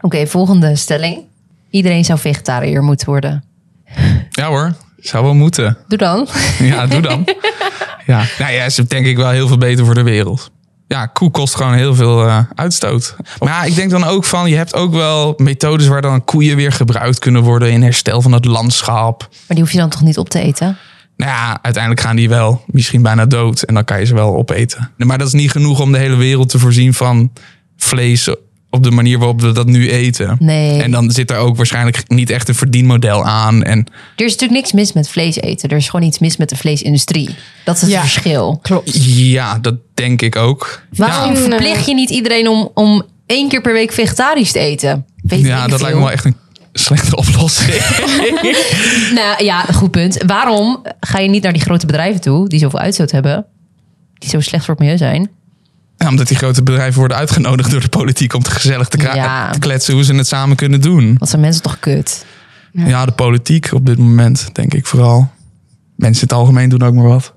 Speaker 1: Oké, volgende stelling. Iedereen zou vegetariër moeten worden.
Speaker 2: Ja hoor, zou wel moeten.
Speaker 1: Doe dan. [laughs]
Speaker 2: Ja, [laughs] doe dan. ja. Nou ja, is denk ik wel heel veel beter voor de wereld. Ja, koe kost gewoon heel veel eh, uitstoot. Maar ja, ik denk dan ook van, je hebt ook wel methodes waar dan koeien weer gebruikt kunnen worden in herstel van het landschap.
Speaker 1: Maar die hoef je dan toch niet op te eten?
Speaker 2: Nou ja, uiteindelijk gaan die wel misschien bijna dood en dan kan je ze wel opeten. Maar dat is niet genoeg om de hele wereld te voorzien van vlees op de manier waarop we dat nu eten.
Speaker 1: Nee.
Speaker 2: En dan zit er ook waarschijnlijk niet echt een verdienmodel aan. En
Speaker 1: Er is natuurlijk niks mis met vlees eten. Er is gewoon iets mis met de vleesindustrie. Dat is het
Speaker 3: Ja.
Speaker 1: verschil.
Speaker 3: Klopt.
Speaker 2: ja, dat denk ik ook.
Speaker 1: Waarom
Speaker 2: Ja.
Speaker 1: verplicht je niet iedereen om, om één keer per week vegetarisch te eten? Weet
Speaker 2: Ja,
Speaker 1: ik
Speaker 2: dat
Speaker 1: veel.
Speaker 2: lijkt me wel echt een slechte [laughs] oplossing.
Speaker 1: Nou ja, goed punt. Waarom ga je niet naar die grote bedrijven toe die zoveel uitstoot hebben? Die zo slecht voor het milieu zijn.
Speaker 2: Ja, omdat die grote bedrijven worden uitgenodigd door de politiek om te gezellig te, kra-
Speaker 1: Ja.
Speaker 2: te kletsen hoe ze het samen kunnen doen.
Speaker 1: Wat zijn mensen toch kut?
Speaker 2: Ja, de politiek op dit moment, denk ik vooral. Mensen in het algemeen doen ook maar wat.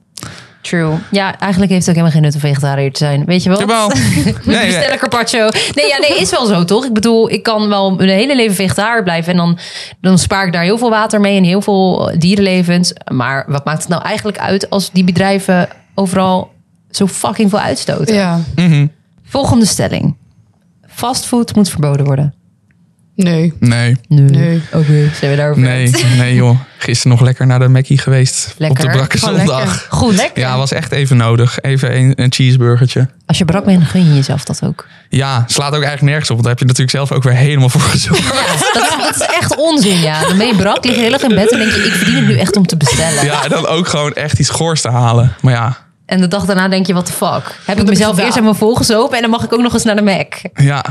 Speaker 1: True. Ja, eigenlijk heeft het ook helemaal geen nut om vegetariër te zijn. Weet je wel? [laughs]
Speaker 2: Jawel. Nee,
Speaker 1: Bestel
Speaker 2: nee.
Speaker 1: een carpaccio. Nee, ja, nee, is wel zo, toch? Ik bedoel, ik kan wel mijn hele leven vegetariër blijven. En dan, dan spaar ik daar heel veel water mee en heel veel dierenlevens. Maar wat maakt het nou eigenlijk uit als die bedrijven overal zo fucking veel uitstoten?
Speaker 3: Ja.
Speaker 1: Volgende stelling. Fastfood moet verboden worden.
Speaker 3: Nee.
Speaker 2: Nee,
Speaker 3: Nee.
Speaker 1: Oké, zijn we daarover
Speaker 2: nee,
Speaker 1: uit?
Speaker 2: nee joh. Gisteren nog lekker naar de Mackie geweest.
Speaker 1: Lekker.
Speaker 2: Op de brakke
Speaker 3: Gewoon
Speaker 2: zondag.
Speaker 3: lekker.
Speaker 1: Goed.
Speaker 2: Ja, was echt even nodig. Even een, een cheeseburgertje.
Speaker 1: Als je brak bent, dan gun je jezelf dat ook.
Speaker 2: Ja, slaat ook eigenlijk nergens op. Want daar heb je natuurlijk zelf ook weer helemaal voor
Speaker 3: [laughs]
Speaker 2: gezorgd.
Speaker 1: Dat, dat is echt onzin, ja. Dan ben je brak, lig je heel erg in bed en denk je... ik verdien het nu echt om te bestellen.
Speaker 2: Ja, en dan ook gewoon echt iets goors te halen. Maar ja,
Speaker 1: En de dag daarna denk je, what the fuck? Heb ik
Speaker 3: ik
Speaker 1: mezelf
Speaker 3: gedaan?
Speaker 1: eerst aan mijn volgezopen en dan mag ik ook nog eens naar de Mac.
Speaker 2: ja.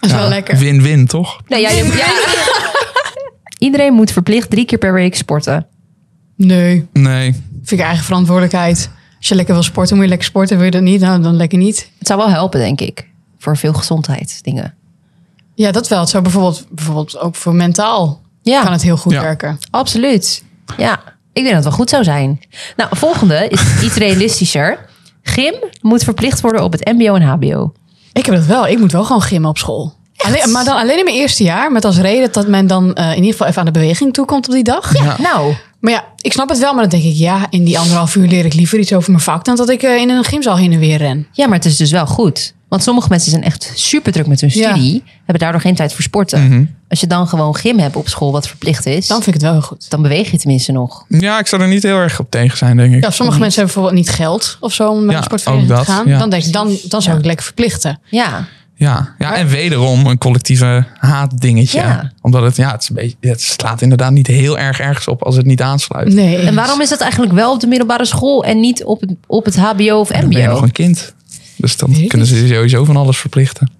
Speaker 3: Dat is wel lekker.
Speaker 2: Win-win, toch?
Speaker 1: Nee, jij, jij- [laughs] Iedereen moet verplicht drie keer per week sporten.
Speaker 3: Nee.
Speaker 2: Nee.
Speaker 3: Vind ik eigen verantwoordelijkheid. Als je lekker wil sporten, moet je lekker sporten. Wil je dat niet, nou dan lekker niet.
Speaker 1: Het zou wel helpen, denk ik. Voor veel gezondheidsdingen.
Speaker 3: Ja, dat wel. Het zou bijvoorbeeld, bijvoorbeeld ook voor mentaal
Speaker 1: Ja,
Speaker 3: kan het heel goed
Speaker 2: Ja.
Speaker 3: werken.
Speaker 1: absoluut. Ja, ik denk dat het wel goed zou zijn. Nou, volgende is iets realistischer. Gym moet verplicht worden op het mbo en hbo.
Speaker 3: Ik heb dat wel. Ik moet wel gewoon gymmen op school. Alleen, maar dan alleen in mijn eerste jaar, met als reden dat men dan eh, in ieder geval even aan de beweging toekomt op die dag.
Speaker 2: Ja.
Speaker 1: Nou,
Speaker 3: Maar ja, ik snap het wel, maar dan denk ik, ja, in die anderhalf uur leer ik liever iets over mijn vak dan dat ik eh, in een gymzaal heen en weer ren.
Speaker 1: ja, maar het is dus wel goed. Want sommige mensen zijn echt super druk met hun
Speaker 3: Ja.
Speaker 1: studie. Hebben daardoor geen tijd voor sporten. Als je dan gewoon gym hebt op school, wat verplicht is.
Speaker 3: Dan
Speaker 1: Mhm. Dan,
Speaker 3: vind ik het wel heel goed.
Speaker 1: beweeg je tenminste nog.
Speaker 2: Ja, ik zou er niet heel erg op tegen zijn, denk ik.
Speaker 3: Ja, sommige mensen hebben bijvoorbeeld niet geld of zo om naar
Speaker 2: Mm. Ja,
Speaker 3: een sportvereniging
Speaker 2: ook
Speaker 3: te
Speaker 2: dat,
Speaker 3: gaan.
Speaker 2: ja.
Speaker 3: Dan denk ik, dan, dan zou ik lekker verplichten.
Speaker 1: Ja,
Speaker 2: Ja, ja en wederom een collectieve haatdingetje.
Speaker 1: Ja.
Speaker 2: Omdat het, ja, het, is een beetje, het slaat inderdaad niet heel erg ergens op als het niet aansluit.
Speaker 3: Nee.
Speaker 1: en waarom is dat eigenlijk wel op de middelbare school en niet op het, op het HBO of
Speaker 2: Dan ben je
Speaker 1: MBO?
Speaker 2: nog een kind. Dus dan
Speaker 3: Weet ik
Speaker 2: kunnen ze je sowieso van alles verplichten.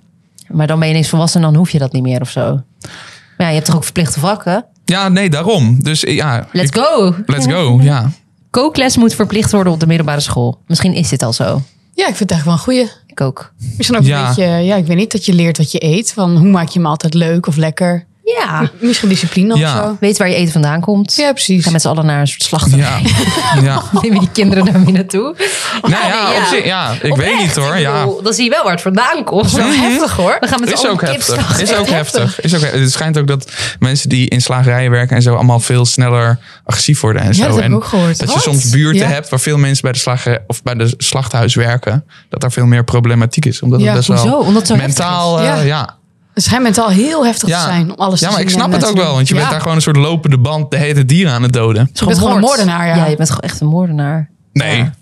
Speaker 1: Maar dan ben je niks volwassen en dan hoef je dat niet meer of zo. Maar ja, je hebt toch ook verplichte vakken?
Speaker 2: Ja, nee, daarom. Dus ja,
Speaker 1: Let's
Speaker 2: ik-
Speaker 1: go!
Speaker 2: let's go. Ja.
Speaker 1: Kookles moet verplicht worden op de middelbare school. Misschien is dit al zo.
Speaker 3: Ja, ik vind het eigenlijk wel een goeie.
Speaker 1: Ik ook.
Speaker 3: Misschien ook
Speaker 2: Ja.
Speaker 3: een beetje, eh, ja, ik weet niet, dat je leert wat je eet. Van hoe maak je hem altijd leuk of lekker.
Speaker 1: Ja.
Speaker 3: Misschien discipline
Speaker 2: Ja.
Speaker 3: of zo.
Speaker 1: Weet waar je eten vandaan komt.
Speaker 3: Ja, precies.
Speaker 1: Ga met z'n allen naar een soort slachtoffer.
Speaker 2: Ja. [laughs] ja.
Speaker 1: [laughs] Neem je die kinderen naar binnen toe.
Speaker 2: Nou ja,
Speaker 1: nee,
Speaker 2: op
Speaker 1: ja.
Speaker 2: zich- ja, ik
Speaker 1: Oprecht,
Speaker 2: weet niet hoor.
Speaker 1: ik
Speaker 2: Ja. Mhm.
Speaker 1: bedoel, Dan zie je wel waar het vandaan komt.
Speaker 3: Wel heftig hoor.
Speaker 1: We gaan met
Speaker 2: Is
Speaker 1: z'n
Speaker 2: ook,
Speaker 1: allen
Speaker 2: heftig.
Speaker 1: kipslag. [laughs]
Speaker 2: is [laughs] ook heftig. Is ook heftig. Het schijnt ook dat mensen die in slagerijen werken en zo allemaal veel sneller agressief worden en zo.
Speaker 3: dat heb ik
Speaker 2: en
Speaker 3: ook gehoord.
Speaker 2: Dat je
Speaker 3: Wat?
Speaker 2: soms buurten
Speaker 3: Ja.
Speaker 2: hebt waar veel mensen bij de slager of bij de slachthuis werken, dat daar veel meer problematiek is, omdat
Speaker 3: Ja,
Speaker 2: het best
Speaker 1: hoezo?
Speaker 2: wel
Speaker 1: Omdat het zo
Speaker 2: mentaal,
Speaker 3: heftig is.
Speaker 2: eh,
Speaker 3: Ja.
Speaker 2: ja.
Speaker 3: Het schijnt mentaal heel heftig
Speaker 2: Ja.
Speaker 3: te zijn om alles
Speaker 2: ja,
Speaker 3: te
Speaker 2: maar ik
Speaker 3: zien
Speaker 2: snap
Speaker 3: en,
Speaker 2: het
Speaker 3: eh,
Speaker 2: ook
Speaker 3: te
Speaker 2: wel,
Speaker 3: doen.
Speaker 2: want je
Speaker 3: Ja.
Speaker 2: bent daar gewoon een soort lopende band de hele dier aan het doden.
Speaker 1: Je
Speaker 3: bent gewoon een moordenaar, ja.
Speaker 1: Ja, je bent gewoon echt een moordenaar.
Speaker 2: Nee,
Speaker 1: Ja.
Speaker 2: dat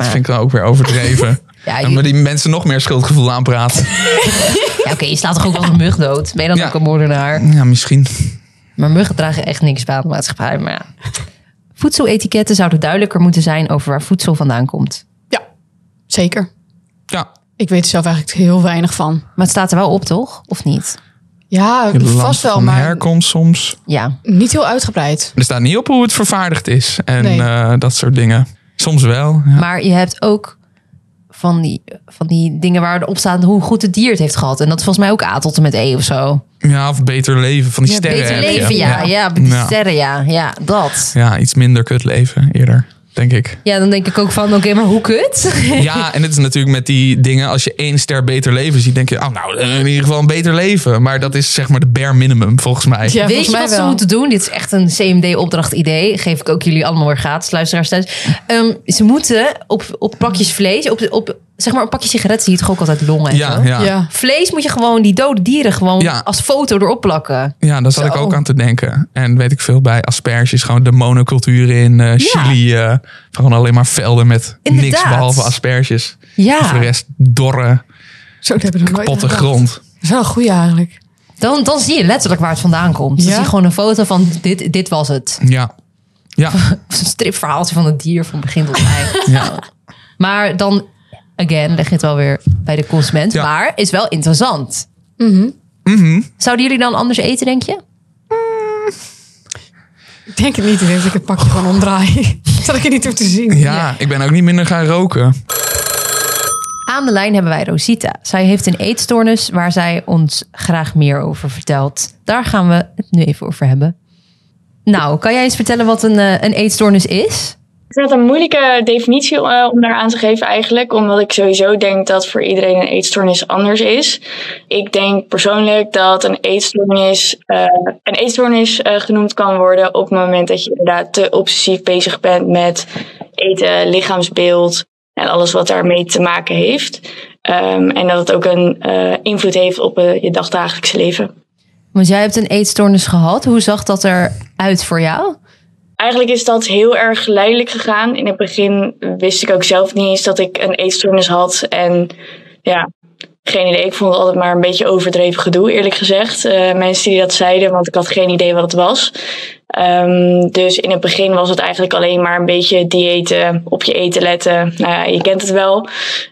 Speaker 1: Maar-
Speaker 2: vind ik dan ook weer [laughs] overdreven.
Speaker 1: Ja,
Speaker 2: en
Speaker 1: je-
Speaker 2: maar die mensen nog meer schuldgevoel aanpraten.
Speaker 1: Ja, Oké, je slaat toch ook wel een mug dood? Ben je dan
Speaker 2: Ja.
Speaker 1: ook een moordenaar?
Speaker 2: [laughs] Ja, misschien.
Speaker 1: Maar muggen dragen echt niks bij aan de maatschappij. Maar ja. Voedseletiketten zouden duidelijker moeten zijn over waar voedsel vandaan komt.
Speaker 3: Ja, zeker.
Speaker 2: Ja,
Speaker 3: Ik weet er zelf eigenlijk heel weinig van.
Speaker 1: Maar het staat er wel op, toch? Of niet?
Speaker 3: Ja,
Speaker 2: je
Speaker 3: vast wel,
Speaker 2: van
Speaker 3: maar
Speaker 2: herkomst soms.
Speaker 1: Ja.
Speaker 3: niet heel uitgebreid.
Speaker 2: Er staat niet op hoe het vervaardigd is en
Speaker 3: Nee.
Speaker 2: eh, dat soort dingen. Soms wel. Ja.
Speaker 1: Maar je hebt ook van die, van die dingen waar erop staat hoe goed het dier het heeft gehad. En dat is volgens mij ook A tot en met E of zo.
Speaker 2: Ja, of beter leven van die
Speaker 3: Ja,
Speaker 2: sterren.
Speaker 1: Beter
Speaker 2: heb je.
Speaker 1: leven, ja. Ja, die
Speaker 2: Ja.
Speaker 1: sterren, ja. Ja, dat.
Speaker 2: Ja, iets minder kut leven eerder, denk ik.
Speaker 1: Ja, dan denk ik ook van, oké, maar hoe kut?
Speaker 2: Ja, en het is natuurlijk met die dingen, als je één ster beter leven ziet, denk je, oh nou, eh, in ieder geval een beter leven. Maar dat is zeg maar de bare minimum, volgens mij.
Speaker 3: Ja,
Speaker 1: Weet
Speaker 3: volgens
Speaker 1: je
Speaker 3: mij
Speaker 1: wat ze
Speaker 3: wel.
Speaker 1: moeten doen? Dit is echt een CMD-opdracht-idee. Geef ik ook jullie allemaal weer gratis, luisteraars thuis. Ehm, ze moeten op, op pakjes vlees, op, op zeg maar een pakje sigaret zie je toch ook altijd longen en
Speaker 2: Ja,
Speaker 1: zo?
Speaker 2: ja. ja.
Speaker 3: Ja.
Speaker 1: Vlees moet je gewoon die dode dieren gewoon
Speaker 2: Ja.
Speaker 1: als foto erop plakken.
Speaker 2: daar zat ik
Speaker 3: Zo.
Speaker 2: ook aan te denken. En weet ik veel bij asperges, gewoon de monocultuur in eh, Chili. eh, gewoon alleen maar velden met niks
Speaker 1: Inderdaad.
Speaker 2: behalve asperges. En Voor de
Speaker 1: Ja,
Speaker 2: rest dorre,
Speaker 3: Zo, dat heb ik nog nooit
Speaker 2: potte
Speaker 3: aan gedacht.
Speaker 2: grond.
Speaker 3: Dat is wel een goeie eigenlijk.
Speaker 1: dan, dan zie je letterlijk waar het vandaan komt. Dan
Speaker 3: Ja?
Speaker 1: zie je gewoon een foto van dit, dit was het.
Speaker 2: Ja, ja,
Speaker 1: Of een stripverhaaltje van het dier van begin tot
Speaker 2: [laughs]
Speaker 1: eind.
Speaker 2: ja.
Speaker 1: [laughs] maar dan, again, leg je het wel weer bij de consument.
Speaker 2: Ja. Mhm.
Speaker 1: Maar is wel interessant. Zouden jullie dan anders eten, denk je?
Speaker 3: Ik denk het niet. Ik denk dat ik het pakje gewoon omdraai. [laughs] Zodat ik het niet hoef te zien.
Speaker 2: Ja, ik ben ook niet minder gaan roken.
Speaker 1: Aan de lijn hebben wij Rosita. Zij heeft een eetstoornis waar zij ons graag meer over vertelt. Daar gaan we het nu even over hebben. Nou, kan jij eens vertellen wat een, eh, een eetstoornis is?
Speaker 7: Ik vind het een moeilijke definitie eh, om daar aan te geven eigenlijk. Omdat ik sowieso denk dat voor iedereen een eetstoornis anders is. Ik denk persoonlijk dat een eetstoornis, eh, een eetstoornis eh, genoemd kan worden op het moment dat je inderdaad te obsessief bezig bent met eten, lichaamsbeeld en alles wat daarmee te maken heeft. Ehm, en dat het ook een eh, invloed heeft op eh, je dagdagelijkse leven.
Speaker 1: Want jij hebt een eetstoornis gehad. Hoe zag dat eruit voor jou?
Speaker 7: Eigenlijk is dat heel erg geleidelijk gegaan. In het begin wist ik ook zelf niet eens dat ik een eetstoornis had. En ja, geen idee. Ik vond het altijd maar een beetje overdreven gedoe, eerlijk gezegd. Eh, mensen die dat zeiden, want ik had geen idee wat het was. Ehm, dus in het begin was het eigenlijk alleen maar een beetje diëten, op je eten letten. Nou ja, je kent het wel.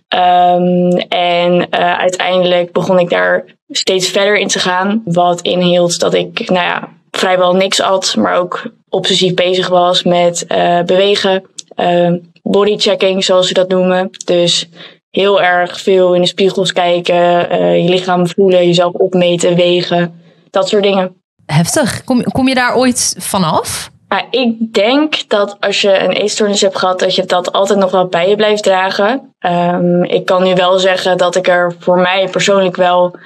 Speaker 7: Ehm, en eh, uiteindelijk begon ik daar steeds verder in te gaan. Wat inhield dat ik, nou ja, vrijwel niks at, maar ook obsessief bezig was met eh, bewegen. eh, bodychecking, zoals ze dat noemen. Dus heel erg veel in de spiegels kijken, eh, je lichaam voelen, jezelf opmeten, wegen, dat soort dingen.
Speaker 1: Heftig. Kom, kom je daar ooit vanaf?
Speaker 7: Maar ik denk dat als je een eetstoornis hebt gehad, dat je dat altijd nog wel bij je blijft dragen. Ehm, ik kan nu wel zeggen dat ik er voor mij persoonlijk wel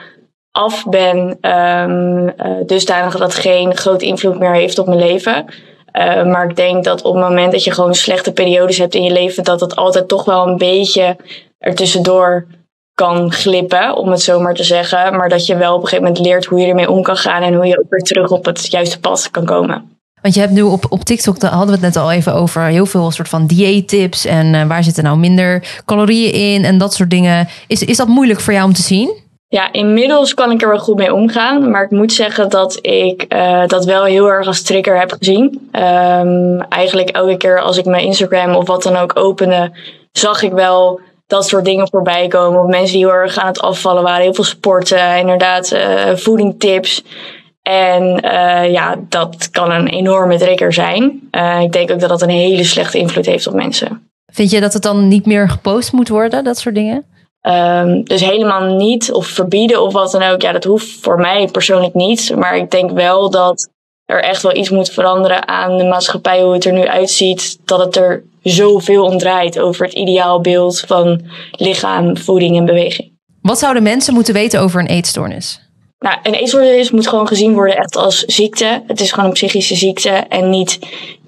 Speaker 7: af ben. ehm eh, dusdanig dat het geen grote invloed meer heeft op mijn leven. Eh, maar ik denk dat op het moment dat je gewoon slechte periodes hebt in je leven, dat het altijd toch wel een beetje ertussendoor kan glippen, om het zo maar te zeggen. Maar dat je wel op een gegeven moment leert hoe je ermee om kan gaan en hoe je ook weer terug op het juiste pad kan komen.
Speaker 1: Want je hebt nu op, op TikTok, daar hadden we het net al even over, heel veel soort van dieettips en eh, waar zitten nou minder calorieën in en dat soort dingen. Is, is dat moeilijk voor jou om te zien?
Speaker 7: Ja, inmiddels kan ik er wel goed mee omgaan. Maar ik moet zeggen dat ik eh, dat wel heel erg als trigger heb gezien. Ehm, eigenlijk elke keer als ik mijn Instagram of wat dan ook opende, zag ik wel dat soort dingen voorbij komen. Of mensen die heel erg aan het afvallen waren, heel veel sporten, inderdaad, eh, voedingtips. En eh, ja, dat kan een enorme trigger zijn. Eh, ik denk ook dat dat een hele slechte invloed heeft op mensen.
Speaker 1: Vind je dat het dan niet meer gepost moet worden, dat soort dingen?
Speaker 7: Ehm, dus helemaal niet of verbieden of wat dan ook. Ja, dat hoeft voor mij persoonlijk niet. Maar ik denk wel dat er echt wel iets moet veranderen aan de maatschappij, hoe het er nu uitziet. Dat het er zoveel om draait over het ideaalbeeld van lichaam, voeding en beweging.
Speaker 1: Wat zouden mensen moeten weten over een eetstoornis?
Speaker 7: Nou, een eetstoornis moet gewoon gezien worden echt als ziekte. Het is gewoon een psychische ziekte en niet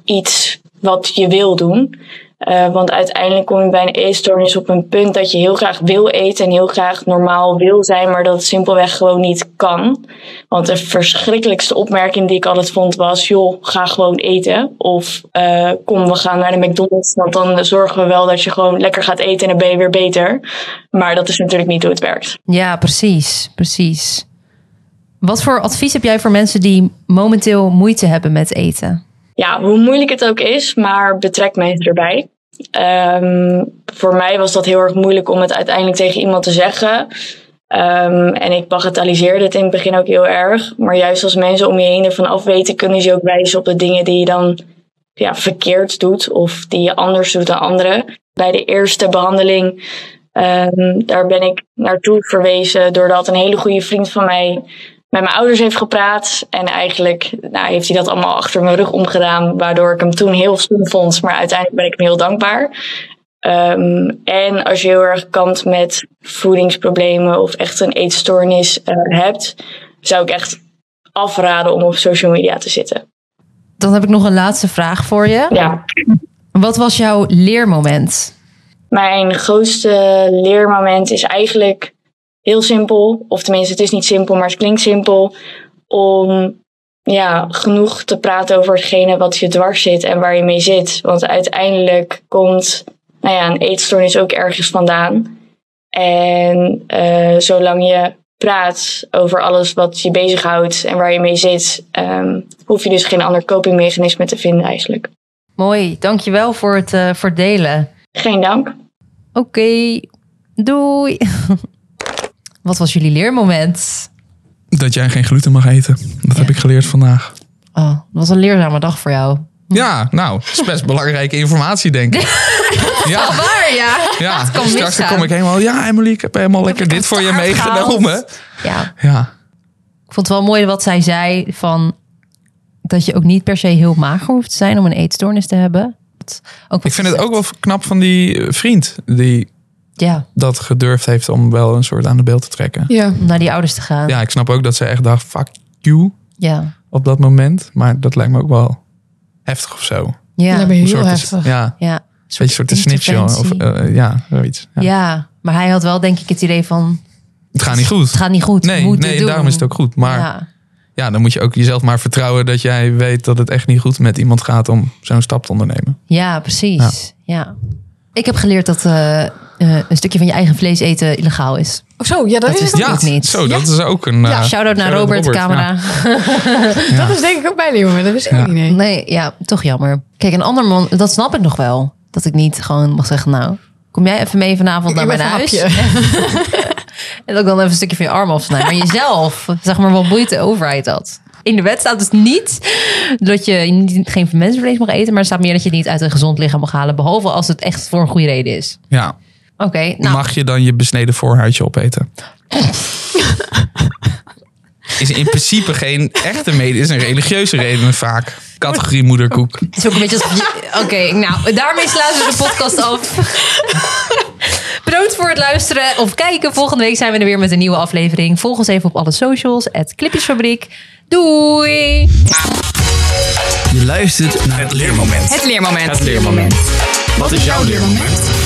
Speaker 7: iets wat je wil doen. Eh, want uiteindelijk kom je bij een eetstoornis op een punt dat je heel graag wil eten en heel graag normaal wil zijn, maar dat het simpelweg gewoon niet kan. Want de verschrikkelijkste opmerking die ik altijd vond was: joh, ga gewoon eten. Of eh, kom, we gaan naar de McDonald's, want dan zorgen we wel dat je gewoon lekker gaat eten en dan ben je weer beter. Maar dat is natuurlijk niet hoe het werkt.
Speaker 1: Ja, precies, precies. Wat voor advies heb jij voor mensen die momenteel moeite hebben met eten?
Speaker 7: ja, hoe moeilijk het ook is, maar betrek mensen erbij. Ehm, voor mij was dat heel erg moeilijk om het uiteindelijk tegen iemand te zeggen. Ehm, en ik bagatelliseerde het in het begin ook heel erg. Maar juist als mensen om je heen ervan af weten, kunnen ze je ook wijzen op de dingen die je dan ja, verkeerd doet of die je anders doet dan anderen. Bij de eerste behandeling, ehm, daar ben ik naartoe verwezen doordat een hele goede vriend van mij met mijn ouders heeft gepraat. En eigenlijk nou, heeft hij dat allemaal achter mijn rug omgedaan, waardoor ik hem toen heel stom vond. Maar uiteindelijk ben ik hem heel dankbaar. Ehm, en als je heel erg kant met voedingsproblemen of echt een eetstoornis eh, hebt, zou ik echt afraden om op social media te zitten.
Speaker 1: Dan heb ik nog een laatste vraag voor je.
Speaker 7: Ja.
Speaker 1: Wat was jouw leermoment?
Speaker 7: Mijn grootste leermoment is eigenlijk heel simpel. Of tenminste, het is niet simpel, maar het klinkt simpel. Om ja, genoeg te praten over hetgene wat je dwars zit en waar je mee zit. Want uiteindelijk komt nou ja, een eetstoornis ook ergens vandaan. En eh, zolang je praat over alles wat je bezighoudt en waar je mee zit, ehm, hoef je dus geen ander copingmechanisme te vinden eigenlijk.
Speaker 1: Mooi, dankjewel voor het eh, voor het delen.
Speaker 7: Geen dank.
Speaker 1: Oké, doei. [laughs] Wat was jullie leermoment?
Speaker 2: Dat jij geen gluten mag eten. Dat heb ik geleerd vandaag.
Speaker 1: Oh, dat was een leerzame dag voor jou.
Speaker 2: Ja, nou, dat is best belangrijke informatie, denk ik. Ja,
Speaker 1: Waar [laughs] Ah, ja?
Speaker 2: ja.
Speaker 1: kan
Speaker 2: straks
Speaker 1: misgaan.
Speaker 2: dan kom ik helemaal... Ja, Emily, ik heb helemaal lekker dit voor je
Speaker 1: taart
Speaker 2: meegenomen.
Speaker 1: Ja,
Speaker 2: Ja,
Speaker 1: ik vond het wel mooi wat zij zei van dat je ook niet per se heel mager hoeft te zijn om een eetstoornis te hebben. Dat- Ook wat
Speaker 2: ik vind
Speaker 1: ze
Speaker 2: het ook wel knap van die eh, vriend... die
Speaker 1: zegt. Ja,
Speaker 2: dat gedurfd heeft om wel een soort aan de beeld te trekken.
Speaker 3: Ja.
Speaker 1: om naar die ouders te gaan. Ja.
Speaker 2: Ja, ik snap ook dat ze echt dacht, fuck you
Speaker 1: Ja.
Speaker 2: op dat moment. Maar dat lijkt me ook wel heftig of zo. Een
Speaker 1: Ja.
Speaker 3: Daar ben je
Speaker 2: soort
Speaker 3: heel
Speaker 2: te-
Speaker 3: heftig.
Speaker 2: Ja, een soort een snitje. Of,
Speaker 1: interventie.
Speaker 2: eh, ja, zoiets. Ja.
Speaker 1: Ja, maar hij had wel denk ik het idee van
Speaker 2: Het gaat niet goed.
Speaker 1: het gaat niet goed.
Speaker 2: nee,
Speaker 1: we moeten
Speaker 2: nee
Speaker 1: doen.
Speaker 2: daarom is het ook goed. Maar ja.
Speaker 1: Ja.
Speaker 2: dan moet je ook jezelf maar vertrouwen dat jij weet dat het echt niet goed met iemand gaat om zo'n stap te ondernemen.
Speaker 1: Ja, precies. Ja. Ik heb geleerd dat eh, eh, een stukje van je eigen vlees eten illegaal is.
Speaker 3: Of Oh, zo, ja, dat,
Speaker 1: Dat
Speaker 3: is,
Speaker 1: is
Speaker 3: het
Speaker 1: ook
Speaker 2: ja,
Speaker 1: niet.
Speaker 2: zo, dat is ook een... eh,
Speaker 1: Shout-out naar
Speaker 2: shout-out
Speaker 1: Robert, camera.
Speaker 2: ja.
Speaker 3: ook. Dat is denk ik ook bij jongen. Dat wist ik
Speaker 2: Ja.
Speaker 3: ook niet. nee.
Speaker 1: Nee, ja, toch jammer. Kijk, een ander man, dat snap ik nog wel. Dat ik niet gewoon mag zeggen, nou, kom jij even mee vanavond naar
Speaker 3: Ik
Speaker 1: mijn
Speaker 3: ben
Speaker 1: huis.
Speaker 3: van
Speaker 1: [laughs] en dat ik dan even een stukje van je arm afsnijd. Maar jezelf, zeg maar, wat boeit de overheid dat? In de wet staat dus niet dat je niet, geen mensenvlees mag eten. Maar er staat meer dat je het niet uit een gezond lichaam mag halen. Behalve als het echt voor een goede reden is.
Speaker 2: Ja.
Speaker 1: Oké, nou,
Speaker 2: Mag je dan je besneden voorhuidje opeten? is in principe geen echte mede, is een religieuze reden vaak. Categorie moederkoek.
Speaker 1: het is ook een beetje als... Oké, nou, daarmee sluiten we de podcast af. Proost bedankt voor het luisteren of kijken. Volgende week zijn we er weer met een nieuwe aflevering. Volg ons even op alle socials. Het Clipjesfabriek. Doei!
Speaker 6: Je luistert naar het leermoment.
Speaker 8: Het leermoment.
Speaker 2: Het leermoment.
Speaker 6: Wat is jouw leermoment?